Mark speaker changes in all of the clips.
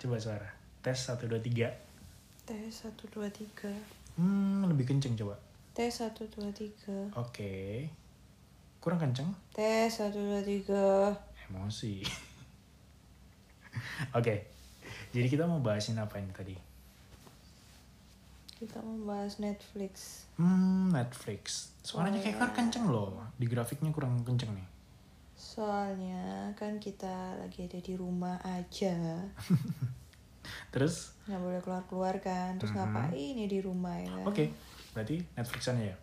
Speaker 1: Coba suara. Tes 1, 2, 3.
Speaker 2: Tes 1, 2, 3
Speaker 1: Hmm, lebih kenceng coba.
Speaker 2: Tes 1, 2, 3
Speaker 1: Oke. Kurang kenceng?
Speaker 2: Tes 1, 2, 3
Speaker 1: Emosi. Oke. Jadi kita mau bahasin apa ini tadi?
Speaker 2: Kita membahas Netflix
Speaker 1: Hmm, Netflix. Suaranya kayak kurang
Speaker 2: Wah.
Speaker 1: kenceng loh. Di grafiknya kurang kenceng nih.
Speaker 2: Soalnya kan kita lagi ada di rumah aja
Speaker 1: Terus,
Speaker 2: nggak boleh keluar-keluar kan Terus
Speaker 1: Mhm.
Speaker 2: ngapain ya di rumah ya kan?
Speaker 1: oke. Berarti Netflixan ya?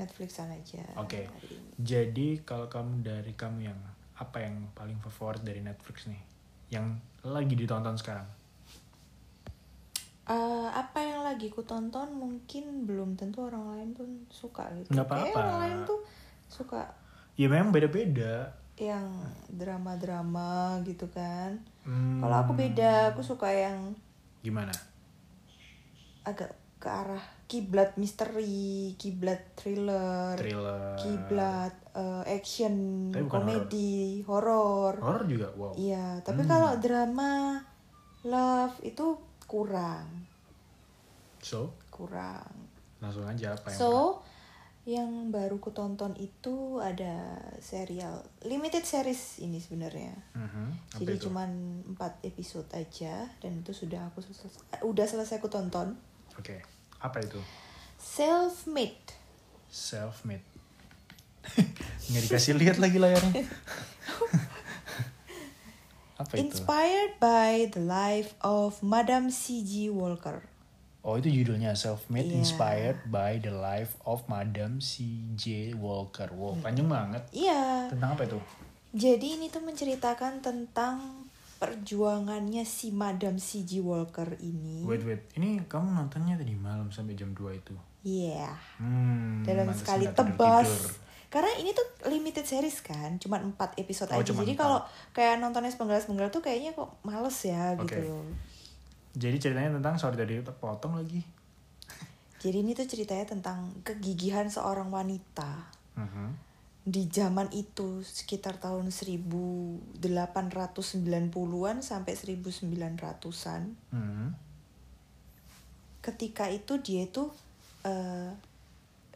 Speaker 2: Netflixan aja
Speaker 1: Oke.
Speaker 2: hari ini.
Speaker 1: Jadi kalau kamu dari kamu yang apa yang paling favorit dari Netflix nih? Yang lagi ditonton sekarang?
Speaker 2: Eh, Apa yang lagi ku tonton mungkin belum tentu orang lain pun suka gitu
Speaker 1: Nggak
Speaker 2: Kayaknya
Speaker 1: apa-apa.
Speaker 2: orang lain tuh suka
Speaker 1: Ya memang beda-beda.
Speaker 2: yang drama-drama gitu kan
Speaker 1: Hmm,
Speaker 2: Kalau aku beda, aku suka yang
Speaker 1: Gimana?
Speaker 2: agak ke arah kiblat misteri, kiblat thriller,
Speaker 1: Thriller.
Speaker 2: kiblat eh, action,
Speaker 1: Tapi bukan
Speaker 2: komedi, horor.
Speaker 1: Horror juga, wow.
Speaker 2: Iya, tapi
Speaker 1: Hmm.
Speaker 2: kalau drama, love itu kurang,
Speaker 1: So,
Speaker 2: kurang.
Speaker 1: langsung aja apa yang
Speaker 2: So, yang baru ku tonton itu ada serial limited series ini sebenarnya.
Speaker 1: Mhm, apa
Speaker 2: Jadi
Speaker 1: itu?
Speaker 2: cuman 4 episode aja dan itu sudah aku selesai, udah selesai aku tonton.
Speaker 1: Oke, apa itu?
Speaker 2: Self made.
Speaker 1: Self made. Nggak dikasih lihat lagi layarnya. apa itu?
Speaker 2: Inspired by the life of Madame C.G. Walker.
Speaker 1: Oh, itu judulnya Self Made
Speaker 2: Iya.
Speaker 1: Inspired by the Life of Madam C.J. Walker. Wow, panjang banget.
Speaker 2: Iya.
Speaker 1: Tentang apa itu?
Speaker 2: Jadi ini tuh menceritakan tentang perjuangannya si Madame C.G. Walker ini.
Speaker 1: Wait, wait. Ini kamu nontonnya tadi malam sampai jam 2 itu.
Speaker 2: Iya.
Speaker 1: Hmm,
Speaker 2: Dalam
Speaker 1: pantesan
Speaker 2: sekali
Speaker 1: nggak
Speaker 2: tebas.
Speaker 1: tidur-tidur.
Speaker 2: Karena ini tuh limited series kan, cuma 4 episode
Speaker 1: Oh,
Speaker 2: aja.
Speaker 1: cuma
Speaker 2: Jadi
Speaker 1: empat.
Speaker 2: kalau kayak nontonnya sepenggal-sepenggal tuh kayaknya kok males ya
Speaker 1: Oke.
Speaker 2: gitu loh.
Speaker 1: Jadi ceritanya tentang, sorry tadi potong lagi.
Speaker 2: Jadi ini tuh ceritanya tentang kegigihan seorang wanita.
Speaker 1: Mhm.
Speaker 2: di zaman itu sekitar tahun 1890-an sampai 1900-an
Speaker 1: Hmm.
Speaker 2: ketika itu dia itu eh,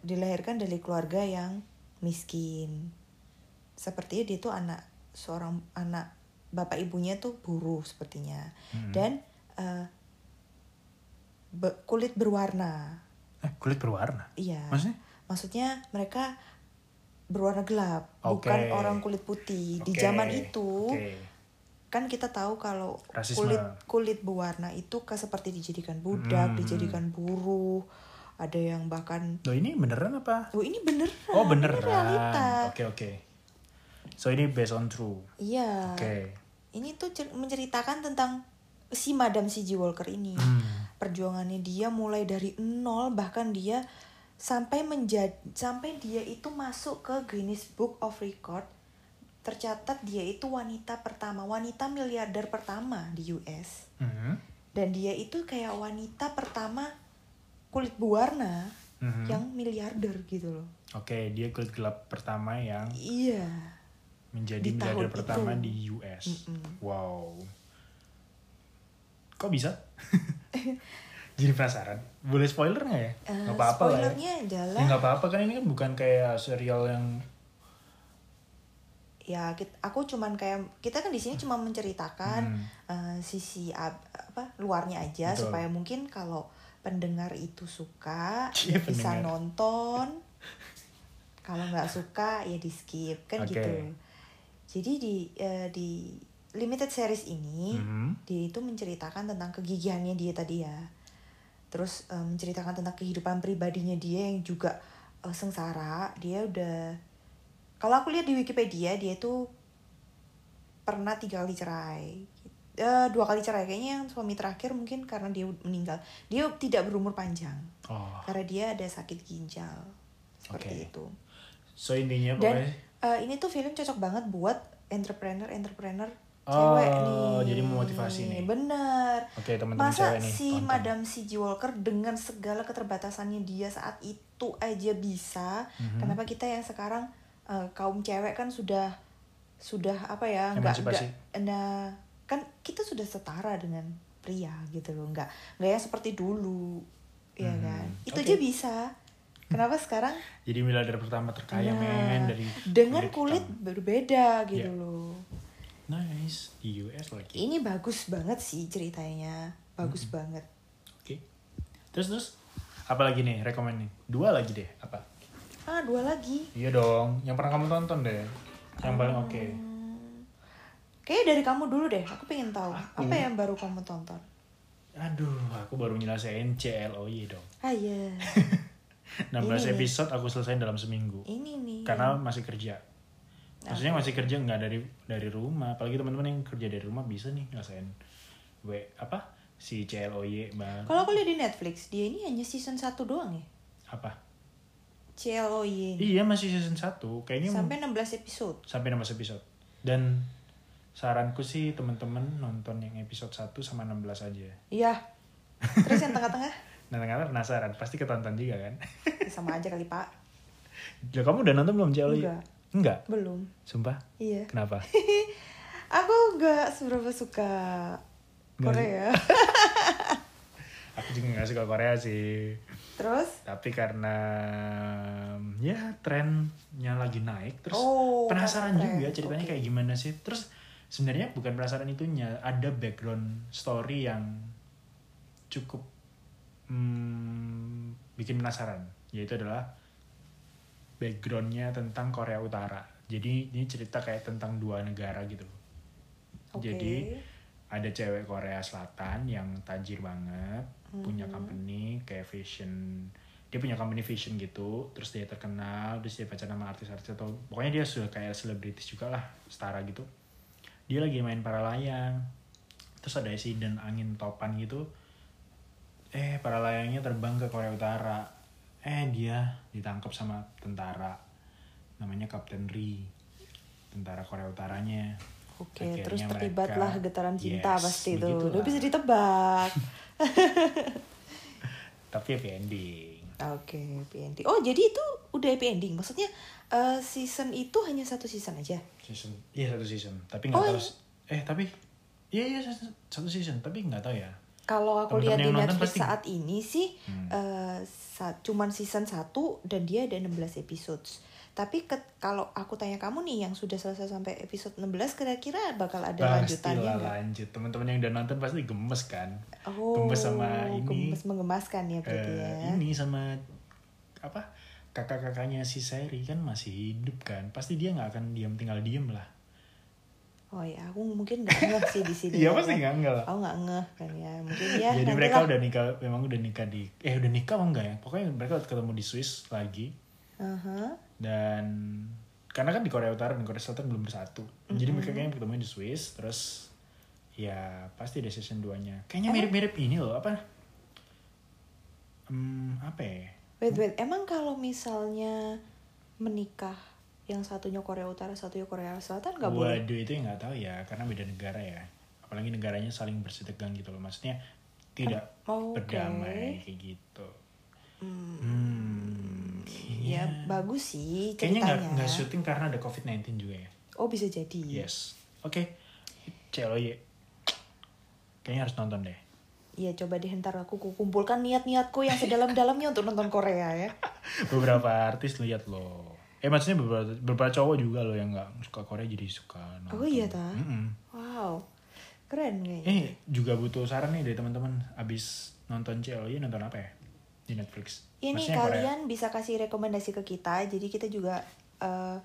Speaker 2: dilahirkan dari keluarga yang miskin sepertinya dia itu anak seorang anak bapak ibunya tuh buruh sepertinya
Speaker 1: Mhm.
Speaker 2: dan eh, be- kulit berwarna
Speaker 1: Eh, kulit berwarna.
Speaker 2: iya
Speaker 1: Maksudnya?
Speaker 2: maksudnya mereka berwarna gelap
Speaker 1: Oke.
Speaker 2: bukan orang kulit putih di
Speaker 1: Oke,
Speaker 2: zaman itu
Speaker 1: oke.
Speaker 2: kan kita tahu kalau
Speaker 1: Rasisme.
Speaker 2: kulit kulit berwarna itu ke seperti dijadikan budak
Speaker 1: Hmm.
Speaker 2: dijadikan buruh ada yang bahkan
Speaker 1: Loh ini beneran apa?
Speaker 2: oh ini beneran
Speaker 1: Oh
Speaker 2: ini
Speaker 1: beneran.
Speaker 2: realita
Speaker 1: Oke oke. So ini based on true.
Speaker 2: iya
Speaker 1: Oke.
Speaker 2: ini tuh cer- menceritakan tentang si Madam C.G. Walker ini
Speaker 1: Hmm.
Speaker 2: perjuangannya dia mulai dari nol bahkan dia sampai menjadi sampai dia itu masuk ke Guinness Book of Record tercatat dia itu wanita pertama wanita miliarder pertama di US
Speaker 1: Mhm.
Speaker 2: dan dia itu kayak wanita pertama kulit berwarna
Speaker 1: Mhm.
Speaker 2: yang miliarder gitu loh
Speaker 1: Oke, dia kulit gelap pertama yang
Speaker 2: iya
Speaker 1: menjadi
Speaker 2: Di tahun
Speaker 1: miliarder pertama
Speaker 2: itu.
Speaker 1: di US.
Speaker 2: Mm-mm.
Speaker 1: Wow. Kok bisa? Jadi penasaran. Boleh spoiler nggak ya?
Speaker 2: Eh,
Speaker 1: Nggak apa-apa lah. Ya.
Speaker 2: spoilernya
Speaker 1: Ya,
Speaker 2: adalah
Speaker 1: nggak apa-apa kan ini kan bukan kayak serial yang
Speaker 2: ya kit- aku cuman kayak kita kan di sini cuma menceritakan
Speaker 1: Hmm.
Speaker 2: eh, sisi ab- apa luarnya aja
Speaker 1: Betul.
Speaker 2: supaya mungkin kalau pendengar itu suka
Speaker 1: Cie,
Speaker 2: ya bisa
Speaker 1: Iya, pendengar.
Speaker 2: nonton kalau nggak suka ya di skip kan
Speaker 1: Oke.
Speaker 2: gitu jadi di eh, di limited series ini
Speaker 1: Mhm.
Speaker 2: dia itu menceritakan tentang kegigihannya dia tadi ya terus eh, menceritakan tentang kehidupan pribadinya dia yang juga eh, sengsara dia udah kalau aku lihat di Wikipedia dia itu pernah tiga kali cerai Eh, dua kali cerai kayaknya yang suami terakhir mungkin karena dia meninggal dia tidak berumur panjang
Speaker 1: Oh.
Speaker 2: karena dia ada sakit ginjal
Speaker 1: Oke.
Speaker 2: seperti itu
Speaker 1: So intinya
Speaker 2: dan
Speaker 1: pokoknya
Speaker 2: eh, ini tuh film cocok banget buat entrepreneur entrepreneur cewek
Speaker 1: Oh,
Speaker 2: nih.
Speaker 1: jadi memotivasi nih.
Speaker 2: Bener.
Speaker 1: Oke teman-teman
Speaker 2: Masa
Speaker 1: cewek nih.
Speaker 2: si
Speaker 1: tonton.
Speaker 2: Madam C.G. Walker dengan segala keterbatasannya dia saat itu aja bisa.
Speaker 1: Mhm.
Speaker 2: Kenapa kita yang sekarang eh, kaum cewek kan sudah sudah apa ya nggak
Speaker 1: Emansipasi.
Speaker 2: nggak nah, kan kita sudah setara dengan pria gitu loh nggak nggak yang seperti dulu ya
Speaker 1: Hmm,
Speaker 2: kan itu
Speaker 1: oke.
Speaker 2: aja bisa kenapa sekarang
Speaker 1: Jadi miliarder pertama terkaya
Speaker 2: Nah,
Speaker 1: men dari
Speaker 2: dengan
Speaker 1: kulit
Speaker 2: kulit
Speaker 1: hitam.
Speaker 2: berbeda gitu
Speaker 1: Ya.
Speaker 2: loh
Speaker 1: Nice di US lagi.
Speaker 2: ini bagus banget sih ceritanya
Speaker 1: Mhm.
Speaker 2: bagus banget
Speaker 1: Oke. Terus terus apa lagi nih rekomend nih? Dua lagi deh apa?
Speaker 2: ah dua lagi
Speaker 1: Iya dong, yang pernah kamu tonton deh. Yang paling
Speaker 2: Ah.
Speaker 1: oke.
Speaker 2: Hmm. Kayaknya dari kamu dulu deh, aku pengen tahu
Speaker 1: Aku?
Speaker 2: apa yang baru kamu tonton.
Speaker 1: Aduh, aku baru nyelesain CLOY dong.
Speaker 2: Ah iya,
Speaker 1: 16
Speaker 2: Ini nih.
Speaker 1: episode aku selesaiin dalam seminggu.
Speaker 2: ini nih.
Speaker 1: Karena masih kerja. Maksudnya masih kerja nggak dari dari rumah. Apalagi teman-teman yang kerja dari rumah bisa nih ngelesain W apa si CLOY banget.
Speaker 2: Kalau aku lihat di Netflix, dia ini hanya season 1 doang ya.
Speaker 1: Apa?
Speaker 2: CLOY ini.
Speaker 1: Iya masih season 1 Kayaknya sampai,
Speaker 2: Sampai 16 episode.
Speaker 1: sampai 16 episode Dan saranku sih temen-temen nonton yang episode 1 sama 16 aja
Speaker 2: Iya. Terus yang tengah-tengah
Speaker 1: Nah ternyata penasaran Pasti ketonton juga kan
Speaker 2: Ya, sama aja kali, Pak.
Speaker 1: Loh, Kamu udah nonton belum Jauh?
Speaker 2: Enggak.
Speaker 1: Enggak?
Speaker 2: Belum.
Speaker 1: Sumpah?
Speaker 2: Iya.
Speaker 1: Kenapa?
Speaker 2: Aku nggak seberapa suka
Speaker 1: Nggak
Speaker 2: Korea.
Speaker 1: Aku juga gak suka Korea sih
Speaker 2: Terus
Speaker 1: Tapi karena ya trennya lagi naik Terus
Speaker 2: Oh,
Speaker 1: penasaran
Speaker 2: tren.
Speaker 1: juga ceritanya
Speaker 2: Oke.
Speaker 1: kayak gimana sih Terus sebenarnya bukan penasaran itunya Ada background story yang cukup hmm, bikin penasaran yaitu adalah backgroundnya tentang Korea Utara jadi ini cerita kayak tentang dua negara gitu loh.
Speaker 2: Oke.
Speaker 1: jadi ada cewek Korea Selatan yang tajir banget punya company kayak fashion dia punya company fashion gitu terus dia terkenal terus dia pacaran sama artis-artis atau pokoknya dia sudah kayak selebritis juga lah setara gitu dia lagi main para layang terus ada insiden angin topan gitu eh para layangnya terbang ke Korea Utara eh dia ditangkap sama tentara namanya Kapten Ri tentara Korea Utaranya
Speaker 2: Oke,
Speaker 1: Akhirnya
Speaker 2: terus terlibatlah
Speaker 1: mereka-
Speaker 2: getaran cinta
Speaker 1: Yes,
Speaker 2: pasti itu.
Speaker 1: begitulah.
Speaker 2: Udah bisa ditebak.
Speaker 1: tapi happy ending
Speaker 2: Oke, happy ending. Oh, jadi itu udah happy ending. Maksudnya eh, season itu hanya satu season aja.
Speaker 1: season iya satu season tapi nggak
Speaker 2: Oh,
Speaker 1: tahu eh tapi iya iya satu- satu season tapi nggak tahu ya
Speaker 2: Kalau aku
Speaker 1: Teman-teman
Speaker 2: lihat di
Speaker 1: yang nonton
Speaker 2: Netflix
Speaker 1: pasti-
Speaker 2: saat ini sih
Speaker 1: Hmm.
Speaker 2: eh, sa- cuman season 1 dan dia ada 16 episodes. Tapi ke- kalau aku tanya kamu nih yang sudah selesai sampai episode 16 kira-kira bakal ada lanjutannya
Speaker 1: pastilah
Speaker 2: nggak?
Speaker 1: lanjut teman-teman yang udah nonton pasti gemes kan
Speaker 2: Oh,
Speaker 1: Gemes sama ini.
Speaker 2: Gemes menggemaskan ya berarti
Speaker 1: Eh,
Speaker 2: ya.
Speaker 1: ini sama apa kakak-kakaknya si Seri kan masih hidup kan pasti dia nggak akan diam tinggal diem lah
Speaker 2: Oh ya, aku mungkin nggak ngeh sih di sini.
Speaker 1: iya
Speaker 2: ya,
Speaker 1: pasti
Speaker 2: kan?
Speaker 1: nggak nggak lah
Speaker 2: Aku nggak ngeh kan ya. Mungkin ya.
Speaker 1: jadi
Speaker 2: nantilah.
Speaker 1: mereka udah nikah memang udah nikah di eh udah nikah apa enggak ya pokoknya mereka ketemu di Swiss lagi
Speaker 2: Aha.
Speaker 1: dan karena kan di Korea Utara dan Korea Selatan belum bersatu
Speaker 2: Mm-hmm.
Speaker 1: jadi mereka kayaknya ketemu di Swiss terus ya pasti ada season 2 nya kayaknya mirip-mirip ini loh apa hmm, apa ya
Speaker 2: Wait, wait. Emang kalau misalnya menikah yang satunya Korea Utara, satunya Korea Selatan nggak boleh?
Speaker 1: Waduh itu yang nggak tahu ya karena beda negara ya apalagi negaranya saling bersetegang gitu loh maksudnya tidak
Speaker 2: Oh, oke. Ya,
Speaker 1: berdamai kayak gitu
Speaker 2: Hmm,
Speaker 1: hmm iya.
Speaker 2: ya bagus sih
Speaker 1: kayaknya nggak
Speaker 2: ceritanya.
Speaker 1: nggak syuting karena ada covid 19 juga ya
Speaker 2: oh bisa jadi.
Speaker 1: yes oke CLOY kayaknya harus nonton deh
Speaker 2: Iya coba deh ntar aku kukumpulkan niat-niatku yang sedalam-dalamnya untuk nonton Korea ya.
Speaker 1: beberapa artis lihat loh eh maksudnya beberapa beberapa cowok juga loh yang nggak suka Korea jadi suka nonton
Speaker 2: Oh iya ta?
Speaker 1: Mm-mm.
Speaker 2: Wow, keren kayaknya.
Speaker 1: eh juga butuh saran nih dari teman-teman abis nonton CLOY nonton apa ya di Netflix
Speaker 2: Ini
Speaker 1: Maksudnya Korea.
Speaker 2: kalian bisa kasih rekomendasi ke kita, jadi kita juga eh,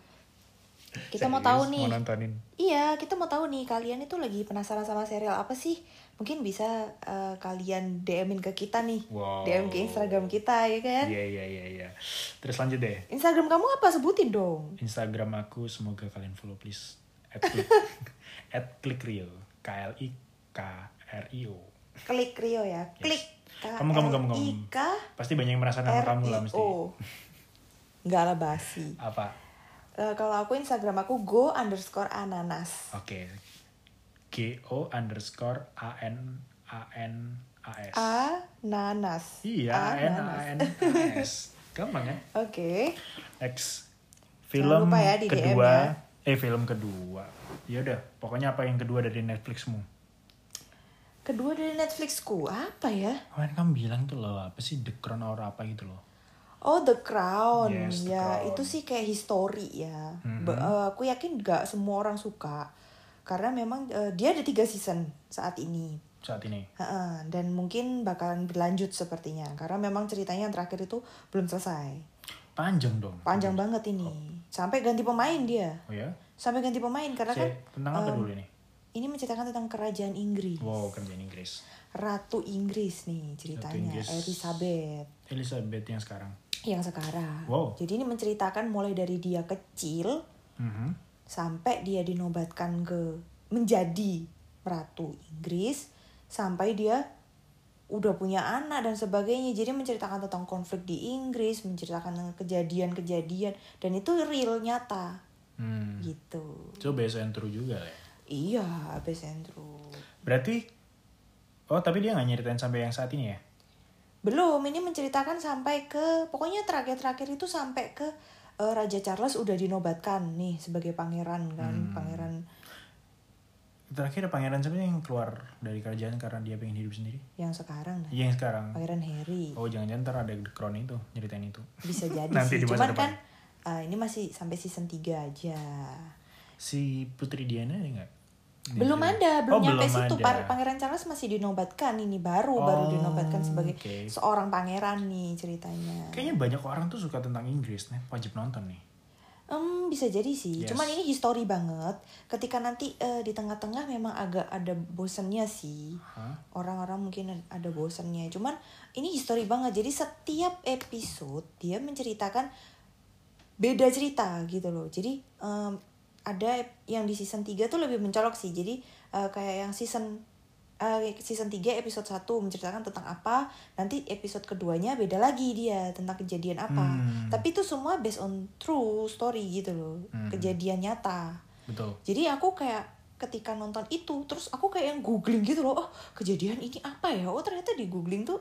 Speaker 2: kita mau
Speaker 1: Serius,
Speaker 2: tahu nih.
Speaker 1: mau nontonin
Speaker 2: Iya, kita mau tahu nih kalian itu lagi penasaran sama serial apa sih? Mungkin bisa eh, kalian DM-in ke kita nih.
Speaker 1: Wow.
Speaker 2: DM ke Instagram kita ya kan?
Speaker 1: iya iya iya iya terus lanjut deh
Speaker 2: Instagram kamu apa sebutin dong.
Speaker 1: Instagram aku semoga kalian follow please at klik at klikrio k l i k r i o
Speaker 2: Klik Rio ya. Klik.
Speaker 1: Kamu, kamu, kamu, kamu.
Speaker 2: K
Speaker 1: pasti banyak yang merasakan
Speaker 2: R
Speaker 1: sama kamu lah
Speaker 2: I
Speaker 1: mesti
Speaker 2: O. Enggak lah basi.
Speaker 1: apa
Speaker 2: Eh, kalau aku Instagram aku go underscore ananas.
Speaker 1: Oke. G O underscore A N A N A S.
Speaker 2: Ananas.
Speaker 1: Iya, A N A
Speaker 2: Ananas.
Speaker 1: N A S. Gampang ya?
Speaker 2: Oke.
Speaker 1: X
Speaker 2: Jangan
Speaker 1: film
Speaker 2: lupa ya di DM
Speaker 1: kedua
Speaker 2: ya.
Speaker 1: eh film kedua ya udah pokoknya apa yang kedua dari Netflixmu
Speaker 2: Kedua dari Netflixku apa ya?
Speaker 1: kemarin kamu bilang tuh loh apa sih The Crown or apa gitu loh
Speaker 2: Oh The Crown
Speaker 1: Yes, The
Speaker 2: ya
Speaker 1: Crown.
Speaker 2: itu sih kayak history ya.
Speaker 1: Mhm.
Speaker 2: Ba- eh, aku yakin gak semua orang suka karena memang eh, dia ada tiga season saat ini
Speaker 1: saat ini
Speaker 2: Heeh, dan mungkin bakalan berlanjut sepertinya karena memang ceritanya yang terakhir itu belum selesai
Speaker 1: panjang dong Iya.
Speaker 2: panjang banget ini sampai ganti pemain dia
Speaker 1: oh ya
Speaker 2: sampai ganti pemain karena kan
Speaker 1: Saya, tentang apa
Speaker 2: em,
Speaker 1: dulu ini
Speaker 2: ini menceritakan tentang kerajaan Inggris
Speaker 1: wow kerjaan Inggris
Speaker 2: ratu Inggris nih ceritanya
Speaker 1: Inggris.
Speaker 2: Elizabeth
Speaker 1: Elizabeth yang sekarang
Speaker 2: yang sekarang
Speaker 1: Wow.
Speaker 2: jadi ini menceritakan mulai dari dia kecil Mm-hmm.
Speaker 1: Mhm.
Speaker 2: sampai dia dinobatkan ke menjadi ratu Inggris sampai dia udah punya anak dan sebagainya jadi menceritakan tentang konflik di Inggris menceritakan tentang kejadian-kejadian dan itu real nyata
Speaker 1: hmm.
Speaker 2: gitu
Speaker 1: so based on true juga lah ya
Speaker 2: iya abis Andrew
Speaker 1: berarti oh tapi dia nggak nyeritain sampai yang saat ini ya
Speaker 2: belum ini menceritakan sampai ke pokoknya terakhir-terakhir itu sampai ke eh, Raja Charles udah dinobatkan nih sebagai pangeran kan
Speaker 1: Hmm.
Speaker 2: pangeran
Speaker 1: terakhir pangeran siapa yang keluar dari kerajaan karena dia pengen hidup sendiri
Speaker 2: yang sekarang nah.
Speaker 1: Iya, yang sekarang
Speaker 2: pangeran Harry
Speaker 1: Oh jangan-jangan ntar ada The Crown itu nyeritain itu.
Speaker 2: bisa jadi
Speaker 1: Nanti
Speaker 2: sih.
Speaker 1: di
Speaker 2: Cuman
Speaker 1: masa depan.
Speaker 2: kan eh, ini masih sampai season 3 aja.
Speaker 1: Si Putri Diana ada nggak? Dia
Speaker 2: Belum
Speaker 1: cerita.
Speaker 2: ada, belum
Speaker 1: Oh,
Speaker 2: nyampe
Speaker 1: belum
Speaker 2: situ.
Speaker 1: ada.
Speaker 2: Par- Pangeran Charles masih dinobatkan ini baru baru
Speaker 1: Oh,
Speaker 2: dinobatkan sebagai
Speaker 1: oke.
Speaker 2: seorang pangeran nih ceritanya.
Speaker 1: Kayaknya banyak orang tuh suka tentang Inggris nih, wajib nonton nih.
Speaker 2: Em, bisa jadi sih.
Speaker 1: Yes.
Speaker 2: Cuman ini histori banget. Ketika nanti eh, di tengah-tengah memang agak ada bosennya sih.
Speaker 1: Hah?
Speaker 2: Orang-orang mungkin ada bosennya. Cuman ini histori banget. Jadi setiap episode dia menceritakan beda cerita gitu loh. Jadi em, ada ep- yang di season 3 tuh lebih mencolok sih. Jadi eh, kayak yang season eh, season 3 episode 1 menceritakan tentang apa, nanti episode keduanya beda lagi dia tentang kejadian apa.
Speaker 1: Hmm.
Speaker 2: Tapi itu semua based on true story gitu loh.
Speaker 1: Hmm.
Speaker 2: Kejadian nyata.
Speaker 1: Betul.
Speaker 2: Jadi aku kayak ketika nonton itu terus aku kayak yang googling gitu loh. Oh, kejadian ini apa ya? Oh, ternyata di googling tuh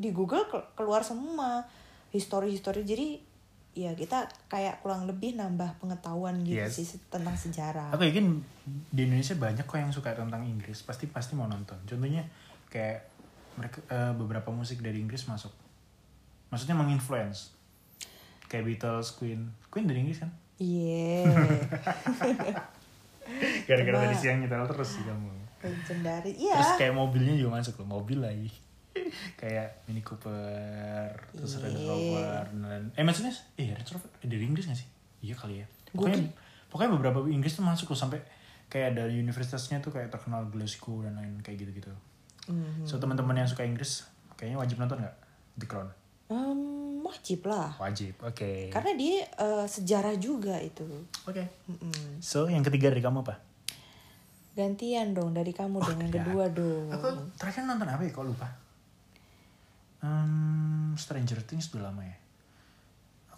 Speaker 2: di Google ke- keluar semua histori-histori. Jadi ya kita kayak kurang lebih nambah pengetahuan gitu
Speaker 1: Yes.
Speaker 2: sih se- tentang sejarah.
Speaker 1: Aku yakin di Indonesia banyak kok yang suka tentang Inggris. Pasti pasti mau nonton. Contohnya kayak mereka eh, beberapa musik dari Inggris masuk. Maksudnya menginfluence. Kayak Beatles, Queen. Queen dari Inggris kan?
Speaker 2: Iya.
Speaker 1: Gara-gara
Speaker 2: Coba.
Speaker 1: tadi siang nyetel terus sih kamu.
Speaker 2: Legendaris.
Speaker 1: Terus
Speaker 2: Iya.
Speaker 1: kayak mobilnya juga masuk loh, mobil lagi. kayak Mini Cooper, terus
Speaker 2: Iya.
Speaker 1: Range Rover, dan eh maksudnya eh Range Rover eh, dari Inggris gak sih? Iya kali ya. Pokoknya pokoknya beberapa Inggris tuh masuk loh sampai kayak dari universitasnya tuh kayak terkenal Glasgow dan lain kayak gitu-gitu.
Speaker 2: Mhm.
Speaker 1: So teman-teman yang suka Inggris kayaknya wajib nonton nggak The Crown?
Speaker 2: Em, wajib lah.
Speaker 1: Wajib. Oke.
Speaker 2: Karena dia eh, sejarah juga itu.
Speaker 1: Oke.
Speaker 2: Mm-mm.
Speaker 1: So yang ketiga dari kamu apa?
Speaker 2: Gantian dong dari kamu dong yang
Speaker 1: ya.
Speaker 2: kedua dong.
Speaker 1: Aku terakhir nonton apa ya? Kok lupa? Hmm, Stranger Things udah lama ya.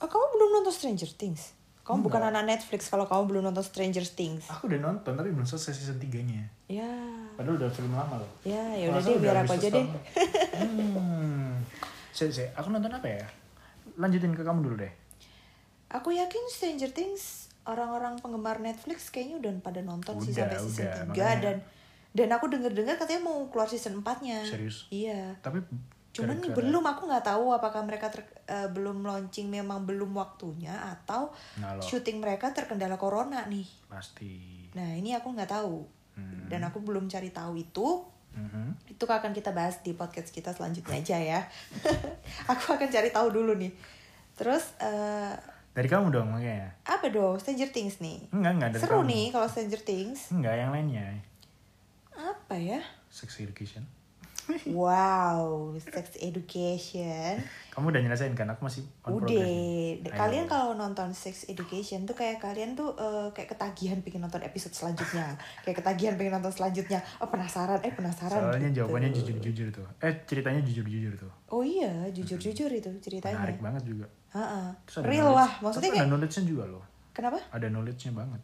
Speaker 2: Oh, kamu belum nonton Stranger Things? Kamu
Speaker 1: Enggak.
Speaker 2: bukan anak Netflix kalau kamu belum nonton Stranger Things.
Speaker 1: Aku udah nonton tapi belum selesai season 3-nya.
Speaker 2: Ya.
Speaker 1: Padahal udah film lama loh.
Speaker 2: Ya, ya
Speaker 1: Kalau nggak
Speaker 2: udah deh
Speaker 1: salah
Speaker 2: biar
Speaker 1: habis
Speaker 2: aku aja deh.
Speaker 1: setahun. Hmm. Saya, saya, aku nonton apa ya? Lanjutin ke kamu dulu deh.
Speaker 2: Eh. Aku yakin Stranger Things orang-orang penggemar Netflix kayaknya udah pada nonton sih
Speaker 1: Udah,
Speaker 2: sampai season
Speaker 1: udah,
Speaker 2: 3
Speaker 1: makanya.
Speaker 2: dan dan aku denger-dengar katanya mau keluar season 4-nya.
Speaker 1: Serius?
Speaker 2: Iya.
Speaker 1: Tapi
Speaker 2: Cuman
Speaker 1: gara-gara-
Speaker 2: belum aku nggak tahu apakah mereka ter- eh, belum launching memang belum waktunya atau
Speaker 1: Nah, loh.
Speaker 2: syuting mereka terkendala corona nih.
Speaker 1: Pasti.
Speaker 2: Nah, ini aku nggak tahu.
Speaker 1: Hmm.
Speaker 2: Dan aku belum cari tahu itu.
Speaker 1: Mhm.
Speaker 2: itu akan kita bahas di podcast kita selanjutnya aja ya aku akan cari tahu dulu nih terus eh,
Speaker 1: Dari kamu dong makanya.
Speaker 2: apa dong Stranger Things nih
Speaker 1: Enggak, enggak dari
Speaker 2: seru
Speaker 1: kamu.
Speaker 2: nih kalau Stranger Things
Speaker 1: Enggak, yang lainnya.
Speaker 2: apa ya
Speaker 1: Sex Education.
Speaker 2: wow sex education
Speaker 1: Kamu udah nyelesain kan? Aku masih on
Speaker 2: udah
Speaker 1: progress nih. Ayo.
Speaker 2: kalian kalau nonton sex education tuh kayak kalian tuh eh, kayak ketagihan pengen nonton episode selanjutnya kayak ketagihan pengen nonton selanjutnya oh penasaran eh penasaran
Speaker 1: Soalnya
Speaker 2: gitu.
Speaker 1: jawabannya jujur-jujur tuh. Eh, ceritanya jujur-jujur tuh.
Speaker 2: oh iya jujur jujur itu ceritanya
Speaker 1: Menarik banget juga.
Speaker 2: Ha-ha.
Speaker 1: Terus ada
Speaker 2: real
Speaker 1: knowledge-
Speaker 2: lah maksudnya
Speaker 1: tapi
Speaker 2: kayak
Speaker 1: ada knowledge-nya juga loh.
Speaker 2: kenapa
Speaker 1: Ada knowledge-nya banget.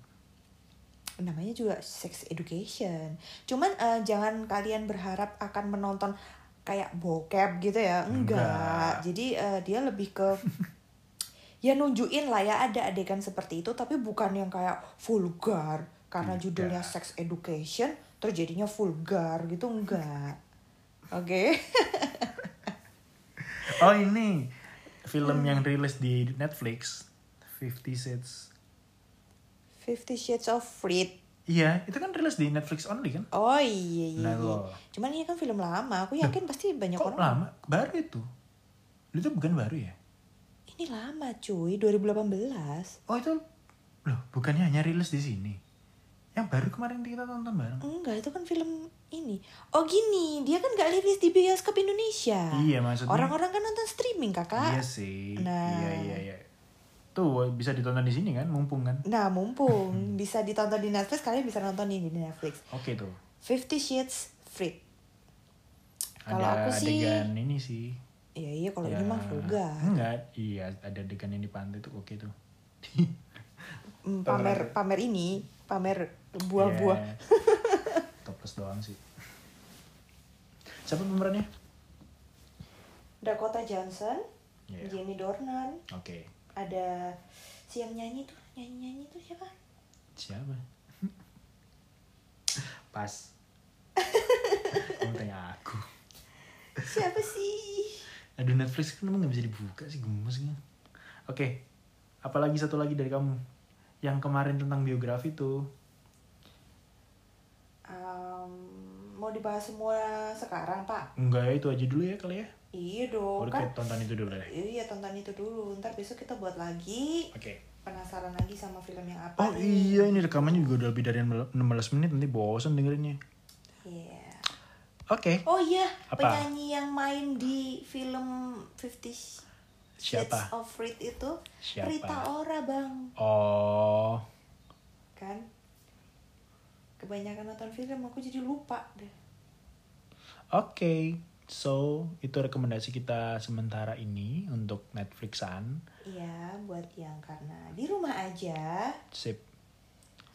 Speaker 2: namanya juga sex education. Cuman eh, jangan kalian berharap akan menonton kayak bokep gitu ya. Enggak.
Speaker 1: Enggak.
Speaker 2: Jadi eh, dia lebih ke ya nunjukin lah ya ada adegan seperti itu tapi bukan yang kayak vulgar
Speaker 1: Tidak.
Speaker 2: karena judulnya sex education terus jadinya vulgar gitu enggak. Oke.
Speaker 1: Oh ini film
Speaker 2: Hmm.
Speaker 1: yang rilis di Netflix Fifty Shades.
Speaker 2: Fifty Shades of Freed.
Speaker 1: Iya, itu kan rilis di Netflix only kan?
Speaker 2: Oh iya iya.
Speaker 1: Nah,
Speaker 2: iya.
Speaker 1: loh.
Speaker 2: Cuman ini kan film lama. Aku yakin pasti banyak
Speaker 1: Kok
Speaker 2: orang.
Speaker 1: lama? Baru itu. Itu bukan baru ya?
Speaker 2: Ini lama cuy, 2018.
Speaker 1: Oh itu loh bukannya hanya rilis di sini? Yang baru kemarin kita tonton bareng.
Speaker 2: Enggak, itu kan film ini. Oh gini, dia kan gak rilis di bioskop Indonesia.
Speaker 1: Iya, maksudnya-
Speaker 2: Orang-orang kan nonton streaming kakak.
Speaker 1: Iya sih.
Speaker 2: Nah.
Speaker 1: Iya iya iya. Tuh bisa ditonton di sini kan, mumpung kan?
Speaker 2: Nah mumpung bisa ditonton di Netflix, kalian bisa nonton ini di Netflix.
Speaker 1: Oke tuh.
Speaker 2: Fifty Shades Freed. Kalau
Speaker 1: Ada
Speaker 2: aku sih-
Speaker 1: adegan ini sih.
Speaker 2: Iya iya, kalau
Speaker 1: Ya.
Speaker 2: ini mah vulgar.
Speaker 1: Enggak, iya ada adegan yang di pantai tuh oke tuh.
Speaker 2: Mm, Pamer pamer ini, pamer buah-buah.
Speaker 1: Iya. Topless doang sih. Siapa pemerannya?
Speaker 2: Dakota Johnson,
Speaker 1: Iya.
Speaker 2: Jamie Dornan,
Speaker 1: Oke.
Speaker 2: ada si yang nyanyi tuh nyanyi nyanyi tuh siapa
Speaker 1: Siapa? Pas. Kamu tanya aku.
Speaker 2: siapa sih
Speaker 1: Aduh Netflix kan emang gak bisa dibuka sih gemes kan. Oke. Apalagi satu lagi dari kamu. Yang kemarin tentang biografi tuh.
Speaker 2: Em, mau dibahas semua sekarang pak
Speaker 1: Enggak ya itu aja dulu ya kali ya.
Speaker 2: iya dong
Speaker 1: Udah
Speaker 2: kan
Speaker 1: kayak tonton itu dulu deh.
Speaker 2: iya tonton itu dulu ntar besok kita buat lagi
Speaker 1: Oke.
Speaker 2: penasaran lagi sama film yang apa
Speaker 1: Oh iya ini rekamannya juga udah lebih dari 16 menit nanti bosen dengerinnya.
Speaker 2: Iya.
Speaker 1: Oke.
Speaker 2: oh iya
Speaker 1: Apa?
Speaker 2: penyanyi yang main di film Fifty Shades
Speaker 1: Siapa?
Speaker 2: of Freed itu
Speaker 1: Siapa?
Speaker 2: Rita Ora bang
Speaker 1: Oh.
Speaker 2: kan kebanyakan nonton film aku jadi lupa deh
Speaker 1: Oke, so itu rekomendasi kita sementara ini untuk Netflixan.
Speaker 2: Iya, buat yang karena di rumah aja,
Speaker 1: Sip.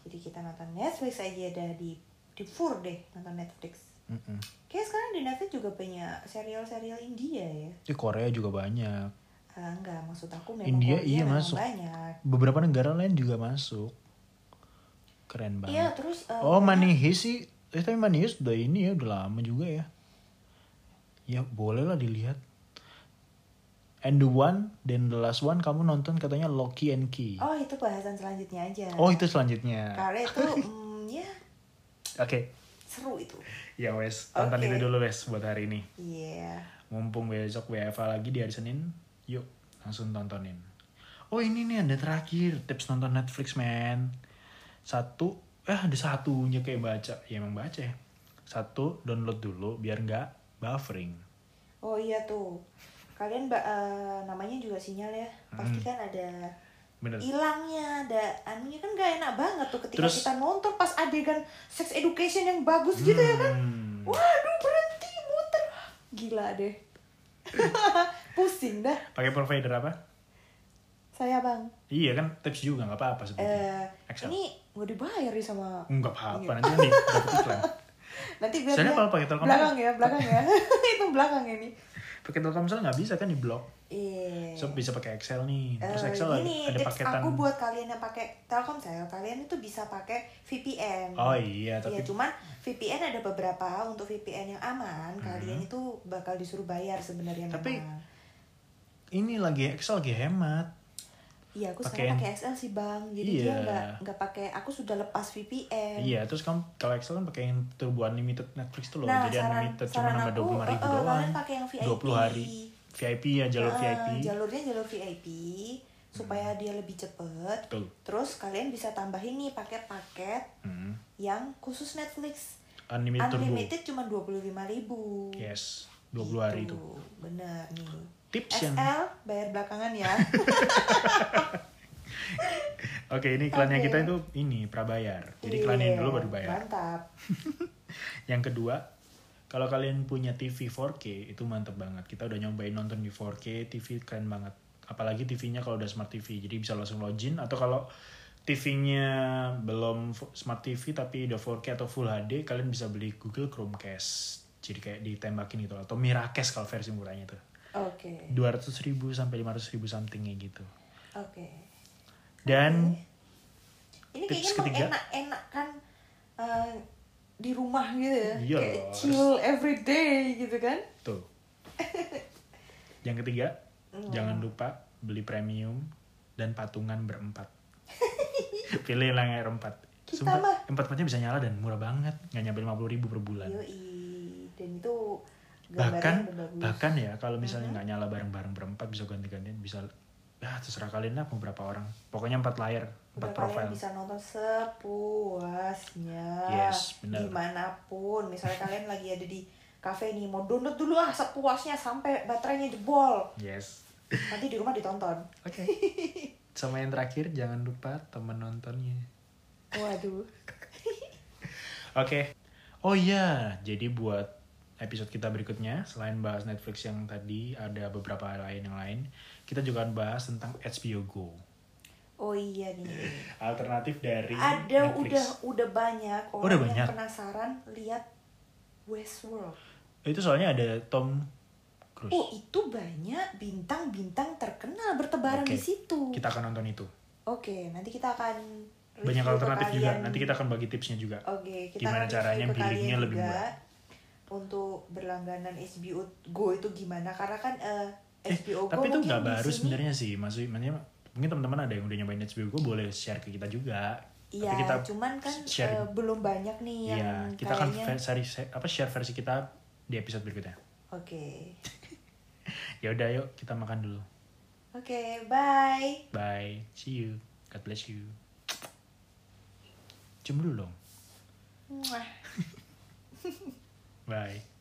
Speaker 2: jadi kita nonton Netflix aja ada di di fur deh nonton Netflix.
Speaker 1: Mm-mm.
Speaker 2: Kayak sekarang di Netflix juga banyak serial-serial India ya.
Speaker 1: Di Korea juga banyak.
Speaker 2: Ah, enggak, maksud aku memang
Speaker 1: India,
Speaker 2: Korea
Speaker 1: iya,
Speaker 2: memang
Speaker 1: masuk.
Speaker 2: banyak.
Speaker 1: Beberapa negara lain juga masuk. Keren
Speaker 2: Iya,
Speaker 1: banget.
Speaker 2: terus eh,
Speaker 1: Oh, Money Heist sih. Eh, tapi Money Heist udah ini ya, udah lama juga ya. Ya, bolehlah dilihat. And the one, then the last one, kamu nonton katanya Loki and Key.
Speaker 2: Oh, itu bahasan selanjutnya aja.
Speaker 1: Oh, itu selanjutnya.
Speaker 2: Karena itu mm, ya
Speaker 1: Oke,
Speaker 2: seru itu.
Speaker 1: ya wes, tonton
Speaker 2: Oke.
Speaker 1: itu dulu wes buat hari ini.
Speaker 2: Iya.
Speaker 1: mumpung besok WFA lagi di hari Senin, yuk langsung tontonin. Oh ini nih ada terakhir tips nonton Netflix man. Satu, eh ada satunya kayak baca, ya emang baca ya. Satu, download dulu biar nggak buffering.
Speaker 2: Oh iya tuh. Kalian ba- eh, namanya juga sinyal ya. Pasti
Speaker 1: Hmm.
Speaker 2: kan ada
Speaker 1: Bener.
Speaker 2: Iya, hilangnya ada anunya kan gak enak banget tuh ketika
Speaker 1: Terus-
Speaker 2: kita nonton pas adegan sex education yang bagus gitu ya kan
Speaker 1: Hmm.
Speaker 2: waduh berhenti muter gila deh pusing dah
Speaker 1: Pakai provider apa?
Speaker 2: saya bang
Speaker 1: Iya kan tips juga nggak apa-apa sebetulnya.
Speaker 2: eh
Speaker 1: Excel.
Speaker 2: ini gak dibayar nih sama
Speaker 1: Nggak apa-apa
Speaker 2: Iya.
Speaker 1: nanti nih dapet iklan.
Speaker 2: nanti biar
Speaker 1: Soalnya
Speaker 2: dia-
Speaker 1: kalau pakai Telkomsel-
Speaker 2: belakang ya belakang ya itu belakang ini
Speaker 1: Pakai Telkomsel nggak bisa kan di blok.
Speaker 2: iya
Speaker 1: So bisa pakai Excel nih. Terus
Speaker 2: Eh,
Speaker 1: Excel ada,
Speaker 2: ini
Speaker 1: ada
Speaker 2: tips
Speaker 1: paketan.
Speaker 2: aku buat kalian yang pakai Telkomsel, kalian itu bisa pakai VPN.
Speaker 1: Oh iya, tapi
Speaker 2: Iya, cuman VPN ada beberapa untuk VPN yang aman, kalian itu bakal disuruh bayar sebenarnya
Speaker 1: Hmm. Tapi-
Speaker 2: memang.
Speaker 1: ini lagi Excel lagi hemat.
Speaker 2: Iya, aku
Speaker 1: pakaian-
Speaker 2: sekarang pakai XL sih, Bang. Jadi
Speaker 1: Iya.
Speaker 2: dia nggak nggak pakai aku sudah lepas VPN.
Speaker 1: Iya, terus kamu kalau Excel kan pakai yang turbo unlimited Netflix tuh loh,
Speaker 2: Nah,
Speaker 1: jadi
Speaker 2: saran-
Speaker 1: unlimited cuma
Speaker 2: saran
Speaker 1: nambah
Speaker 2: aku,
Speaker 1: dua puluh ribu
Speaker 2: eh, eh,
Speaker 1: doang,
Speaker 2: kalian pakai yang VIP.
Speaker 1: dua puluh hari VIP ya jalur
Speaker 2: Ah,
Speaker 1: VIP,
Speaker 2: Jalurnya jalur VIP supaya dia lebih cepet.
Speaker 1: betul.
Speaker 2: Terus kalian bisa tambahin nih pakai paket
Speaker 1: Hmm.
Speaker 2: yang khusus Netflix.
Speaker 1: Unlimited,
Speaker 2: Unlimited cuma 25.000.
Speaker 1: turbo, yes, dua puluh hari itu.
Speaker 2: Gitu, Bener nih.
Speaker 1: Tips ya.
Speaker 2: XL
Speaker 1: yang,
Speaker 2: bayar belakangan ya.
Speaker 1: oke ini iklannya
Speaker 2: Oke.
Speaker 1: kita itu ini prabayar, jadi iklannya
Speaker 2: Iya,
Speaker 1: dulu baru bayar.
Speaker 2: Mantap.
Speaker 1: Yang kedua, kalau kalian punya TV 4K itu mantep banget. Kita udah nyobain nonton di 4K, TV keren banget. Apalagi TV-nya kalau udah smart TV, jadi bisa langsung login atau kalau TV-nya belum fu- smart TV tapi udah 4K atau Full HD kalian bisa beli Google Chromecast jadi kayak ditembakin gitu atau Miracast kalau versi murahnya tuh
Speaker 2: Oke.
Speaker 1: 200 ribu sampai 500 ribu something gitu
Speaker 2: Oke.
Speaker 1: dan
Speaker 2: Ini
Speaker 1: Tips
Speaker 2: kayaknya
Speaker 1: ketiga.
Speaker 2: emang enak-enak kan eh, di rumah gitu ya.
Speaker 1: Iya
Speaker 2: Kayak
Speaker 1: loh,
Speaker 2: chill every day gitu kan.
Speaker 1: tuh yang ketiga
Speaker 2: Iya.
Speaker 1: jangan lupa beli premium dan patungan berempat pilih lah yang berempat
Speaker 2: Kita
Speaker 1: Sumpah,
Speaker 2: mah.
Speaker 1: empat-empatnya bisa nyala dan murah banget nggak nyampe 50 ribu per bulan
Speaker 2: Yoi. Dan itu Iya, gambarnya
Speaker 1: bahkan
Speaker 2: udah bagus. Iya.
Speaker 1: bahkan ya kalau misalnya nggak nyala bareng-bareng berempat bisa ganti-gantian bisa ya terserah kalian lah mau berapa orang pokoknya empat layar empat
Speaker 2: Udah kalian
Speaker 1: profil
Speaker 2: bisa nonton sepuasnya.
Speaker 1: Yes, benar.
Speaker 2: Dimanapun. Misalnya kalian lagi ada di kafe nih, mau download dulu ah sepuasnya sampai baterainya jebol.
Speaker 1: yes
Speaker 2: Nanti di rumah ditonton.
Speaker 1: oke sama yang terakhir jangan lupa temen nontonnya
Speaker 2: Waduh.
Speaker 1: Oke. Oh iya, jadi buat episode kita berikutnya, selain bahas Netflix yang tadi, ada beberapa lain yang lain. Kita juga akan bahas tentang HBO Go.
Speaker 2: Oh iya nih.
Speaker 1: Alternatif dari
Speaker 2: ada
Speaker 1: Eh, Netflix. Oh,
Speaker 2: udah udah banyak orang
Speaker 1: Udah banyak.
Speaker 2: yang penasaran lihat Westworld.
Speaker 1: Oh, Itu soalnya ada Tom Cruise.
Speaker 2: Oh itu banyak bintang-bintang terkenal bertebaran
Speaker 1: Oke,
Speaker 2: di situ.
Speaker 1: Kita akan nonton itu.
Speaker 2: Oke nanti kita akan review
Speaker 1: Banyak
Speaker 2: ke
Speaker 1: alternatif juga.
Speaker 2: kalian. Oh,
Speaker 1: Nanti kita akan bagi tipsnya juga.
Speaker 2: Oke kita
Speaker 1: gimana
Speaker 2: akan review
Speaker 1: caranya
Speaker 2: ke kalian
Speaker 1: billingnya lebih
Speaker 2: juga
Speaker 1: murah.
Speaker 2: Untuk berlangganan HBO Go itu gimana? Karena kan eh,
Speaker 1: Eh,
Speaker 2: HBO Go
Speaker 1: tapi itu
Speaker 2: mungkin
Speaker 1: nggak
Speaker 2: di
Speaker 1: baru
Speaker 2: sini-
Speaker 1: sebenarnya sih. Maksud- Maksudnya mungkin teman-teman ada yang udah nyobain HBO Go boleh share ke kita juga.
Speaker 2: Iya,
Speaker 1: Tapi kita
Speaker 2: cuman kan
Speaker 1: share.
Speaker 2: eh, belum banyak nih yang
Speaker 1: Iya, kita akan
Speaker 2: kayaknya.
Speaker 1: ver- seri- se- apa share versi kita di episode berikutnya.
Speaker 2: Oke,
Speaker 1: Ya udah yuk kita makan dulu.
Speaker 2: oke, bye.
Speaker 1: Bye. See you. God bless you. Cium dulu dong.
Speaker 2: Mwah.
Speaker 1: Bye.